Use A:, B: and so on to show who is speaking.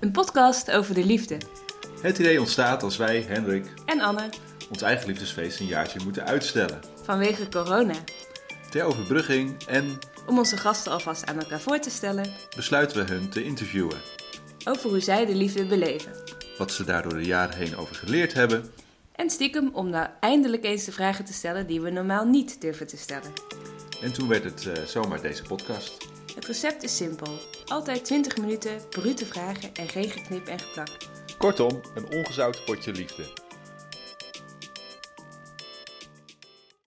A: Een podcast over de liefde.
B: Het idee ontstaat als wij, Hendrik,
A: En Anne,
B: ons eigen liefdesfeest een jaartje moeten uitstellen.
A: vanwege corona.
B: Ter overbrugging en
A: Om onze gasten alvast aan elkaar voor te stellen
B: besluiten we hun te interviewen.
A: over hoe zij de liefde beleven.
B: Wat ze daar door de jaren heen over geleerd hebben.
A: En stiekem om nou eindelijk eens de vragen te stellen die we normaal niet durven te stellen.
B: En toen werd het eh, zomaar deze podcast.
A: Het recept is simpel. Altijd 20 minuten, brute vragen en geen geknip en geplak.
B: Kortom, een ongezouten potje liefde.